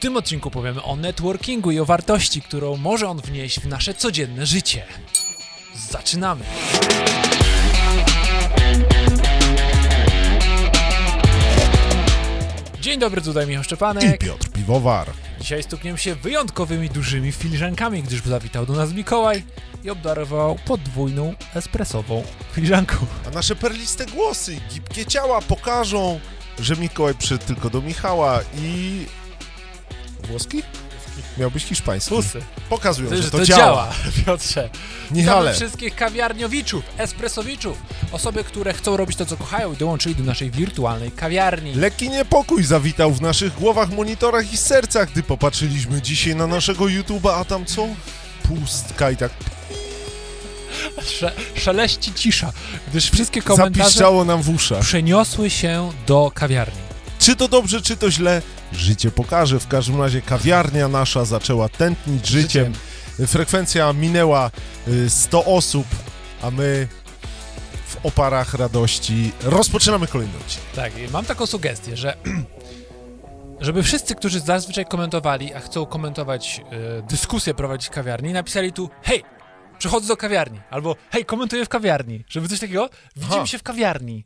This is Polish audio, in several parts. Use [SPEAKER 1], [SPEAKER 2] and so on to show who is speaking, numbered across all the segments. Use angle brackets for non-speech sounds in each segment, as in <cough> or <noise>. [SPEAKER 1] tym odcinku powiemy o networkingu i o wartości, którą może on wnieść w nasze codzienne życie. Zaczynamy! Dzień dobry, tutaj Michał
[SPEAKER 2] I
[SPEAKER 1] Szczepanek.
[SPEAKER 2] Piotr Piwowar.
[SPEAKER 1] Dzisiaj stukniem się wyjątkowymi dużymi filiżankami, gdyż zawitał do nas Mikołaj i obdarował podwójną espresową filiżanką.
[SPEAKER 2] A nasze perliste głosy, gibkie ciała pokażą, że Mikołaj przyszedł tylko do Michała i... Włoski? Miał być hiszpański. Pokazują,
[SPEAKER 1] To,
[SPEAKER 2] że,
[SPEAKER 1] że
[SPEAKER 2] to, działa.
[SPEAKER 1] <laughs> Piotrze. Witamy
[SPEAKER 2] Michale,
[SPEAKER 1] wszystkich kawiarniowiczów, espresowiczów, osoby, które chcą robić to, co kochają i dołączyli do naszej wirtualnej kawiarni.
[SPEAKER 2] lekki niepokój zawitał w naszych głowach, monitorach i sercach, gdy popatrzyliśmy dzisiaj na naszego YouTube'a, a tam co? Pustka i tak
[SPEAKER 1] Sze szeleści cisza, gdyż wszystkie komentarze
[SPEAKER 2] zapiszczało nam w uszach.
[SPEAKER 1] przeniosły się do kawiarni.
[SPEAKER 2] Czy to dobrze, czy to źle? Życie pokaże. W każdym razie kawiarnia nasza zaczęła tętnić życiem. Frekwencja minęła y, 100 osób, a my w oparach radości rozpoczynamy kolejny odcinek.
[SPEAKER 1] Tak, i mam taką sugestię, że <clears throat> żeby wszyscy, którzy zazwyczaj komentowali, a chcą komentować e, dyskusję prowadzić w kawiarni, napisali tu hej, przychodzę do kawiarni, albo hej, komentuję w kawiarni, żeby coś takiego, widzimy
[SPEAKER 2] Aha.
[SPEAKER 1] się w kawiarni.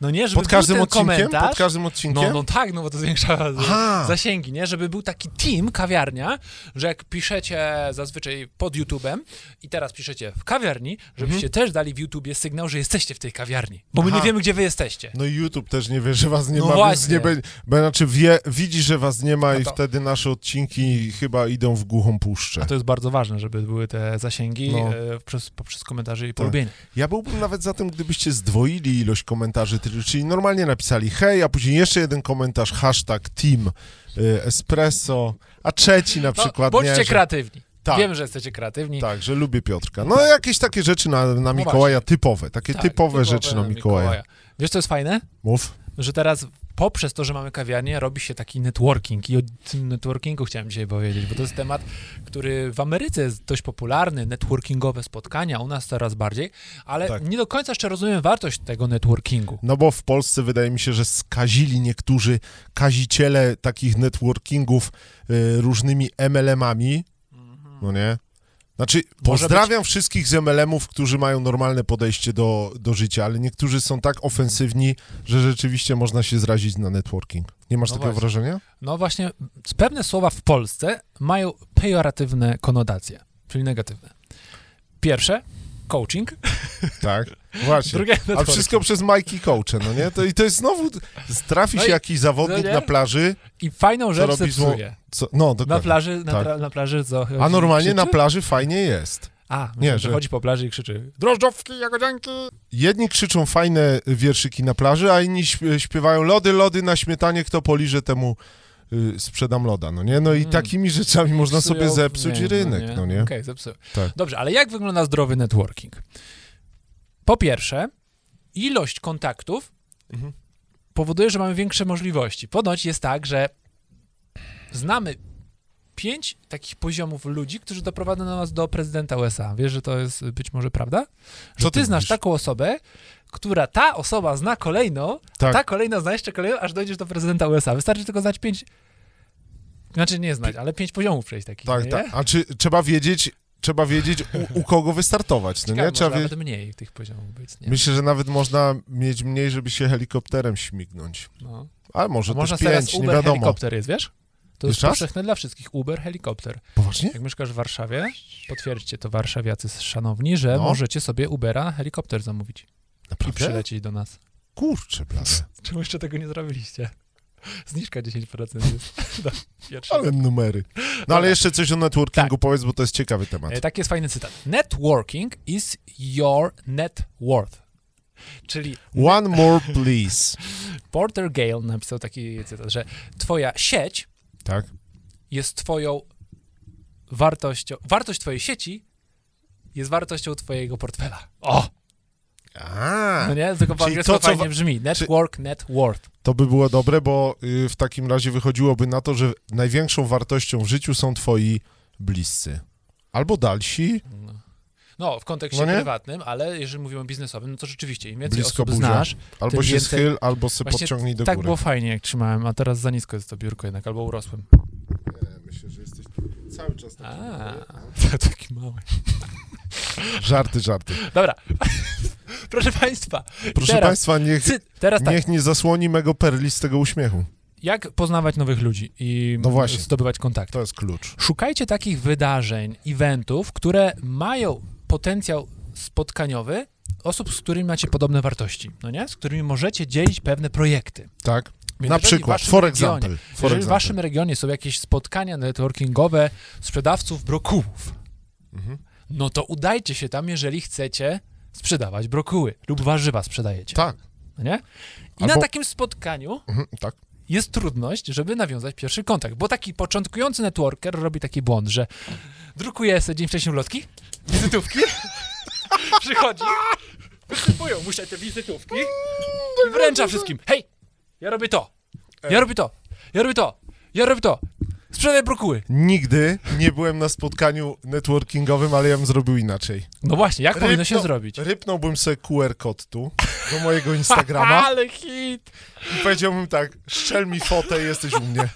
[SPEAKER 1] No nie, żeby
[SPEAKER 2] Pod każdym
[SPEAKER 1] był ten
[SPEAKER 2] odcinkiem?
[SPEAKER 1] komentarz,
[SPEAKER 2] Pod każdym odcinkiem?
[SPEAKER 1] No, no tak, no bo to zwiększa
[SPEAKER 2] Aha.
[SPEAKER 1] zasięgi, nie? Żeby był taki team, kawiarnia, że jak piszecie zazwyczaj pod YouTube'em i teraz piszecie w kawiarni, żebyście też dali w YouTubie sygnał, że jesteście w tej kawiarni, bo my
[SPEAKER 2] Aha.
[SPEAKER 1] nie wiemy, gdzie wy jesteście.
[SPEAKER 2] No i YouTube też nie wie, że was nie
[SPEAKER 1] No
[SPEAKER 2] ma,
[SPEAKER 1] właśnie.
[SPEAKER 2] więc nie będzie. bo Znaczy wie, widzi, że was nie ma
[SPEAKER 1] No
[SPEAKER 2] i
[SPEAKER 1] to-
[SPEAKER 2] wtedy nasze odcinki chyba idą w głuchą puszczę.
[SPEAKER 1] A to jest bardzo ważne, żeby były te zasięgi
[SPEAKER 2] No.
[SPEAKER 1] e, przez, poprzez komentarze i polubienie.
[SPEAKER 2] Ja byłbym nawet za tym, gdybyście zdwoili ilość komentarzy, ty- czyli normalnie napisali hej, a później jeszcze jeden komentarz, hashtag team y, espresso, a trzeci na
[SPEAKER 1] No,
[SPEAKER 2] przykład,
[SPEAKER 1] bądźcie
[SPEAKER 2] nie, że,
[SPEAKER 1] kreatywni.
[SPEAKER 2] Tak.
[SPEAKER 1] Wiem, że jesteście kreatywni.
[SPEAKER 2] tak, że lubię Piotrka. No jakieś takie rzeczy na, na Mikołaja typowe, takie
[SPEAKER 1] No Tak,
[SPEAKER 2] typowe, rzeczy na Mikołaja.
[SPEAKER 1] Wiesz, co jest fajne?
[SPEAKER 2] Mów.
[SPEAKER 1] Że teraz poprzez to, że mamy kawiarnię, robi się taki networking. I o tym networkingu chciałem dzisiaj powiedzieć, bo to jest temat, który w Ameryce jest dość popularny, networkingowe spotkania, u nas coraz bardziej, ale
[SPEAKER 2] Tak.
[SPEAKER 1] nie do końca jeszcze rozumiem wartość tego networkingu.
[SPEAKER 2] No bo w Polsce wydaje mi się, że skazili niektórzy kaziciele takich networkingów y, różnymi MLM-ami, no nie? Znaczy,
[SPEAKER 1] Mhm. Może
[SPEAKER 2] pozdrawiam wszystkich z MLM-ów, którzy mają normalne podejście do, do życia, ale niektórzy są tak ofensywni, że rzeczywiście można się zrazić na networking. Nie masz
[SPEAKER 1] No
[SPEAKER 2] takiego
[SPEAKER 1] właśnie.
[SPEAKER 2] wrażenia?
[SPEAKER 1] No właśnie, pewne słowa w Polsce mają pejoratywne konotacje, czyli negatywne. Pierwsze, coaching. <laughs>
[SPEAKER 2] Tak, właśnie.
[SPEAKER 1] Drugie,
[SPEAKER 2] A
[SPEAKER 1] networking.
[SPEAKER 2] wszystko przez Mikey Coacha, no nie? To, I to jest znowu, trafi
[SPEAKER 1] No
[SPEAKER 2] się
[SPEAKER 1] i-
[SPEAKER 2] jakiś zawodnik
[SPEAKER 1] no nie?
[SPEAKER 2] na plaży,
[SPEAKER 1] I fajną rzecz
[SPEAKER 2] robi zło-
[SPEAKER 1] zepsuje.
[SPEAKER 2] co, no
[SPEAKER 1] Na
[SPEAKER 2] dokładnie.
[SPEAKER 1] plaży, na,
[SPEAKER 2] tak.
[SPEAKER 1] pra- na plaży co?
[SPEAKER 2] A normalnie na
[SPEAKER 1] plaży.
[SPEAKER 2] plaży fajnie jest.
[SPEAKER 1] A,
[SPEAKER 2] Nie,
[SPEAKER 1] nie, że
[SPEAKER 2] że-
[SPEAKER 1] chodzi po plaży i krzyczy.
[SPEAKER 2] Drożdżowki, jagodzianki. Jedni krzyczą fajne wierszyki na plaży, a inni śp- śpiewają lody, lody na śmietanie, kto poliże temu y, sprzedam loda, no nie? No i
[SPEAKER 1] Mm.
[SPEAKER 2] takimi rzeczami można
[SPEAKER 1] Psują-
[SPEAKER 2] sobie zepsuć
[SPEAKER 1] nie,
[SPEAKER 2] rynek, no nie?
[SPEAKER 1] Okej, zepsuł.
[SPEAKER 2] Tak.
[SPEAKER 1] Dobrze, ale jak wygląda zdrowy networking? Po pierwsze, ilość kontaktów
[SPEAKER 2] Mhm.
[SPEAKER 1] powoduje, że mamy większe możliwości. Ponoć jest tak, że znamy pięć takich poziomów ludzi, którzy doprowadzą nas do prezydenta USA. Wiesz, że to jest być może prawda? Że
[SPEAKER 2] Co
[SPEAKER 1] ty,
[SPEAKER 2] ty
[SPEAKER 1] znasz
[SPEAKER 2] mówisz?
[SPEAKER 1] taką osobę, która ta osoba zna kolejną,
[SPEAKER 2] Tak.
[SPEAKER 1] ta kolejna zna jeszcze kolejną, aż dojdziesz do prezydenta USA. Wystarczy tylko znać pięć... Znaczy nie znać, ale pięć poziomów przejść takich,
[SPEAKER 2] Tak,
[SPEAKER 1] nie?
[SPEAKER 2] tak. A czy trzeba wiedzieć, trzeba wiedzieć u, u kogo wystartować, no
[SPEAKER 1] Ciekawe,
[SPEAKER 2] nie?
[SPEAKER 1] może
[SPEAKER 2] Trzeba wie...
[SPEAKER 1] nawet mniej tych poziomów być, nie?
[SPEAKER 2] Myślę, że nawet można mieć mniej, żeby się helikopterem śmignąć.
[SPEAKER 1] No.
[SPEAKER 2] Ale może
[SPEAKER 1] A można
[SPEAKER 2] też
[SPEAKER 1] teraz
[SPEAKER 2] pięć, nie
[SPEAKER 1] Uber
[SPEAKER 2] wiadomo.
[SPEAKER 1] helikopter jest, wiesz? To
[SPEAKER 2] Już
[SPEAKER 1] jest
[SPEAKER 2] czas?
[SPEAKER 1] powszechne dla wszystkich, Uber helikopter.
[SPEAKER 2] Poważnie?
[SPEAKER 1] Jak mieszkasz w Warszawie, potwierdźcie to warszawiacy szanowni, że
[SPEAKER 2] No.
[SPEAKER 1] możecie sobie Ubera helikopter zamówić i
[SPEAKER 2] Naprawdę?
[SPEAKER 1] przylecieć do nas.
[SPEAKER 2] Kurczę, blade.
[SPEAKER 1] Czemu jeszcze tego nie zrobiliście? Zniżka 10% jest. <laughs> Do pierwszego.
[SPEAKER 2] Ale numery. No
[SPEAKER 1] Dobra. Tak.
[SPEAKER 2] ale jeszcze coś o networkingu powiedz, bo to jest ciekawy temat.
[SPEAKER 1] E, Taki jest fajny cytat. Networking is your net worth. Czyli
[SPEAKER 2] One more, please.
[SPEAKER 1] Porter Gale napisał taki cytat, że twoja sieć
[SPEAKER 2] Tak?
[SPEAKER 1] jest twoją wartością, wartość twojej sieci jest wartością twojego portfela. O!
[SPEAKER 2] A,
[SPEAKER 1] No nie? Tylko po
[SPEAKER 2] Czyli
[SPEAKER 1] angielsku
[SPEAKER 2] to, co
[SPEAKER 1] fajnie
[SPEAKER 2] wa-
[SPEAKER 1] brzmi. Network, net worth.
[SPEAKER 2] to by było dobre, bo y, w takim razie wychodziłoby na to, że największą wartością w życiu są twoi bliscy. Albo dalsi,
[SPEAKER 1] No, w kontekście
[SPEAKER 2] No nie?
[SPEAKER 1] prywatnym, ale jeżeli mówimy o biznesowym, no to rzeczywiście, im więcej
[SPEAKER 2] Blisko
[SPEAKER 1] osób
[SPEAKER 2] burza.
[SPEAKER 1] znasz,
[SPEAKER 2] albo
[SPEAKER 1] Tym
[SPEAKER 2] się
[SPEAKER 1] więcej-
[SPEAKER 2] schyl, albo se
[SPEAKER 1] Właśnie
[SPEAKER 2] podciągnij do
[SPEAKER 1] tak
[SPEAKER 2] góry.
[SPEAKER 1] było fajnie, jak trzymałem, a teraz za nisko jest to biurko jednak, albo urosłem.
[SPEAKER 2] cały czas
[SPEAKER 1] A,
[SPEAKER 2] taki. <laughs>
[SPEAKER 1] taki mały.
[SPEAKER 2] Żarty, żarty.
[SPEAKER 1] Dobra. <laughs> Proszę Państwa,
[SPEAKER 2] Proszę
[SPEAKER 1] Teraz.
[SPEAKER 2] Państwa, niech,
[SPEAKER 1] cy, teraz tak.
[SPEAKER 2] niech nie zasłoni mego perlistego uśmiechu.
[SPEAKER 1] Jak poznawać nowych ludzi i
[SPEAKER 2] No właśnie.
[SPEAKER 1] zdobywać kontakty?
[SPEAKER 2] To jest klucz.
[SPEAKER 1] Szukajcie takich wydarzeń, eventów, które mają potencjał spotkaniowy osób, z którymi macie podobne wartości, no nie? Z którymi możecie dzielić pewne projekty.
[SPEAKER 2] Tak?
[SPEAKER 1] Więc
[SPEAKER 2] Na
[SPEAKER 1] jeżeli
[SPEAKER 2] przykład,
[SPEAKER 1] w waszym
[SPEAKER 2] for
[SPEAKER 1] regionie-
[SPEAKER 2] example. For
[SPEAKER 1] Jeżeli w
[SPEAKER 2] example.
[SPEAKER 1] waszym regionie są jakieś spotkania networkingowe sprzedawców brokułów,
[SPEAKER 2] Mhm.
[SPEAKER 1] no to udajcie się tam, jeżeli chcecie sprzedawać brokuły lub warzywa sprzedajecie,
[SPEAKER 2] Tak.
[SPEAKER 1] no nie? I na
[SPEAKER 2] Albo-
[SPEAKER 1] takim spotkaniu
[SPEAKER 2] Mhm, tak.
[SPEAKER 1] jest trudność, żeby nawiązać pierwszy kontakt, bo taki początkujący networker robi taki błąd, że drukuje sobie dzień wcześniej ulotki, wizytówki, <laughs> przychodzi, wysypują mu się te wizytówki i wręcza wszystkim. Hej, ja robię to, ja robię to, ja robię to, ja robię to, sprzedaj brokuły.
[SPEAKER 2] Nigdy nie byłem na spotkaniu networkingowym, ale ja bym zrobił inaczej.
[SPEAKER 1] No właśnie, jak powinno się
[SPEAKER 2] Rypnął-
[SPEAKER 1] zrobić?
[SPEAKER 2] Rypnąłbym sobie QR kod tu do mojego Instagrama
[SPEAKER 1] <laughs> Ale hit!
[SPEAKER 2] i powiedziałbym tak, szczel mi fotę jesteś u mnie.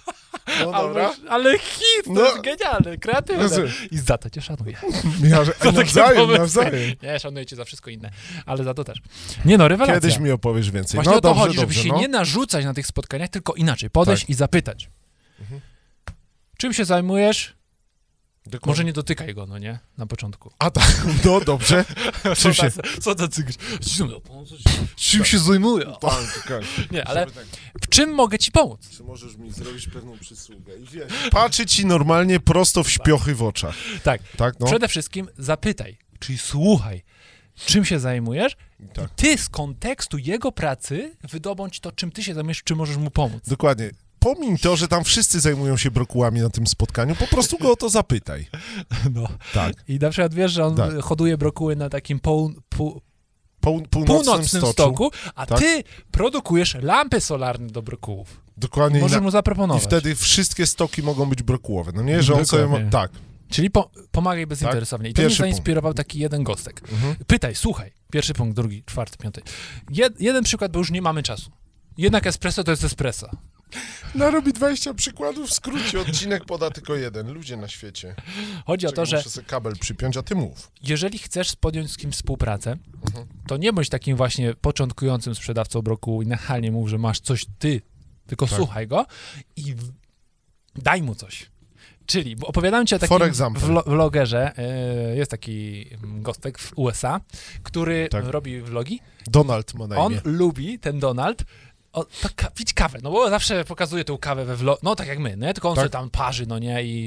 [SPEAKER 2] No dobra.
[SPEAKER 1] Ale, ale hit! To
[SPEAKER 2] No.
[SPEAKER 1] jest genialne, kreatywne.
[SPEAKER 2] Rozumiem.
[SPEAKER 1] I za to cię szanuję.
[SPEAKER 2] Ja, <laughs>
[SPEAKER 1] Za takie
[SPEAKER 2] nawzajem,
[SPEAKER 1] pomysły.
[SPEAKER 2] nawzajem.
[SPEAKER 1] Nie, szanuję cię za wszystko inne, ale za to też. Nie no, rewelacja.
[SPEAKER 2] Kiedyś mi opowiesz więcej.
[SPEAKER 1] Właśnie
[SPEAKER 2] no
[SPEAKER 1] o to
[SPEAKER 2] dobrze,
[SPEAKER 1] chodzi, żeby
[SPEAKER 2] dobrze,
[SPEAKER 1] się
[SPEAKER 2] no. Tak.
[SPEAKER 1] nie narzucać na tych spotkaniach, tylko inaczej podejść i zapytać.
[SPEAKER 2] Mhm.
[SPEAKER 1] Czym się zajmujesz?
[SPEAKER 2] Dokładnie.
[SPEAKER 1] Może nie dotykaj go, no nie? Na początku.
[SPEAKER 2] A tak, <laughs> no dobrze.
[SPEAKER 1] <laughs>
[SPEAKER 2] Czym się...
[SPEAKER 1] Co tacy Czym się zajmuję? tak, Nie, ale
[SPEAKER 2] tak-
[SPEAKER 1] w czym mogę ci pomóc?
[SPEAKER 3] Czy możesz mi zrobić pewną przysługę? I wiesz,
[SPEAKER 2] Patrzy ci normalnie prosto w śpiochy w oczach.
[SPEAKER 1] Tak,
[SPEAKER 2] Tak, no.
[SPEAKER 1] przede wszystkim zapytaj, czyli słuchaj, czym się zajmujesz
[SPEAKER 2] Tak.
[SPEAKER 1] i ty z kontekstu jego pracy wydobądź to, czym ty się zajmujesz, czy możesz mu pomóc.
[SPEAKER 2] Dokładnie. Pomiń to, że tam wszyscy zajmują się brokułami na tym spotkaniu, po prostu go o to zapytaj.
[SPEAKER 1] No.
[SPEAKER 2] Tak.
[SPEAKER 1] I na przykład wiesz, że on
[SPEAKER 2] Tak.
[SPEAKER 1] hoduje brokuły na takim pół, pół,
[SPEAKER 2] Po, północnym,
[SPEAKER 1] północnym
[SPEAKER 2] stoczu.
[SPEAKER 1] stoku, a
[SPEAKER 2] Tak.
[SPEAKER 1] ty produkujesz lampy solarne do brokułów.
[SPEAKER 2] Dokładnie.
[SPEAKER 1] Możesz
[SPEAKER 2] I, na,
[SPEAKER 1] mu
[SPEAKER 2] I
[SPEAKER 1] zaproponować.
[SPEAKER 2] wtedy wszystkie stoki mogą być brokułowe. No nie, że on sobie ma...
[SPEAKER 1] Dokładnie.
[SPEAKER 2] Tak.
[SPEAKER 1] Czyli po, pomagaj bezinteresownie. I to
[SPEAKER 2] Pierwszy
[SPEAKER 1] mnie zainspirował taki jeden gostek.
[SPEAKER 2] Mhm.
[SPEAKER 1] Pytaj, słuchaj. Pierwszy punkt, drugi, czwarty, piąty. Jed, jeden przykład, bo już nie mamy czasu. Jednak espresso to jest espresso.
[SPEAKER 2] No robi 20 przykładów, w skrócie odcinek poda tylko jeden. Ludzie na świecie.
[SPEAKER 1] Chodzi o to, że
[SPEAKER 2] Muszę sobie kabel przypiąć, a ty mów.
[SPEAKER 1] jeżeli chcesz podjąć z kimś współpracę,
[SPEAKER 2] Mhm.
[SPEAKER 1] to nie bądź takim właśnie początkującym sprzedawcą broku i nachalnie mów, że masz coś ty, tylko
[SPEAKER 2] Tak.
[SPEAKER 1] słuchaj go i w... daj mu coś. Czyli, bo opowiadałem ci o takim
[SPEAKER 2] For example.
[SPEAKER 1] vlo- vlogerze, y, jest taki mm, gostek w USA, który
[SPEAKER 2] Tak.
[SPEAKER 1] robi vlogi.
[SPEAKER 2] Donald ma na
[SPEAKER 1] On
[SPEAKER 2] imię.
[SPEAKER 1] lubi, ten Donald, o, to ka- pić kawę, no bo zawsze pokazuje tą kawę we vlogu, no tak jak my, nie? tylko on
[SPEAKER 2] Tak.
[SPEAKER 1] sobie tam parzy, no nie, I,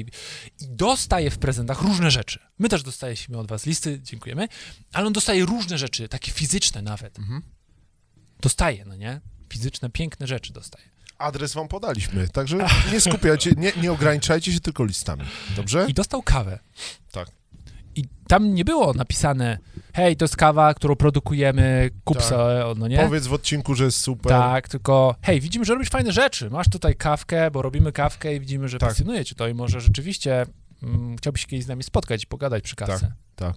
[SPEAKER 1] i dostaje w prezentach różne rzeczy. My też dostajemy od was listy, dziękujemy, ale on dostaje różne rzeczy, takie fizyczne nawet.
[SPEAKER 2] Mhm.
[SPEAKER 1] Dostaje, no nie, fizyczne, piękne rzeczy dostaje.
[SPEAKER 2] Adres wam podaliśmy, także nie skupiajcie, nie, nie ograniczajcie się tylko listami. Dobrze?
[SPEAKER 1] I dostał kawę.
[SPEAKER 2] Tak.
[SPEAKER 1] I tam nie było napisane, hej, to jest kawa, którą produkujemy, kup
[SPEAKER 2] Tak.
[SPEAKER 1] sobie, o, no nie?
[SPEAKER 2] Powiedz w odcinku, że jest super.
[SPEAKER 1] Tak, tylko hej, widzimy, że robisz fajne rzeczy. Masz tutaj kawkę, bo robimy kawkę i widzimy, że
[SPEAKER 2] Tak.
[SPEAKER 1] pasjonuje cię to i może rzeczywiście mm, chciałbyś się kiedyś z nami spotkać i pogadać przy kawce.
[SPEAKER 2] tak.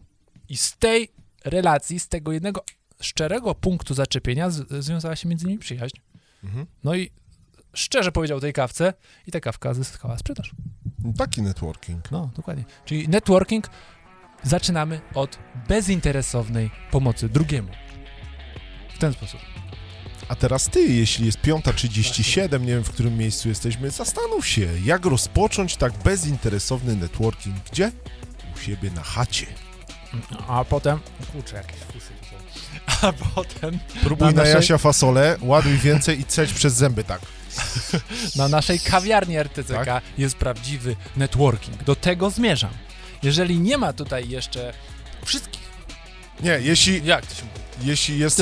[SPEAKER 1] I z tej relacji, z tego jednego szczerego punktu zaczepienia z, związała się między nimi przyjaźń.
[SPEAKER 2] Mhm.
[SPEAKER 1] No i szczerze powiedział tej kawce i ta kawka zyskała sprzedaż.
[SPEAKER 2] Taki networking.
[SPEAKER 1] No, dokładnie. Czyli networking zaczynamy od bezinteresownej pomocy drugiemu. W ten sposób.
[SPEAKER 2] A teraz ty, jeśli jest 5.37, nie wiem w którym miejscu jesteśmy, zastanów się, jak rozpocząć tak bezinteresowny networking. Gdzie? U siebie na chacie.
[SPEAKER 1] A potem... Kurczę, jakieś fusy to są. A potem
[SPEAKER 2] Próbuj na,
[SPEAKER 1] Na naszej-
[SPEAKER 2] Jasia fasolę, ładuj więcej i ceć przez zęby tak.
[SPEAKER 1] na naszej kawiarni RTCK jest prawdziwy networking. Do tego zmierzam. Jeżeli nie ma tutaj jeszcze wszystkich...
[SPEAKER 2] Nie, jeśli,
[SPEAKER 1] Jak to się mówi?
[SPEAKER 2] jeśli jesteś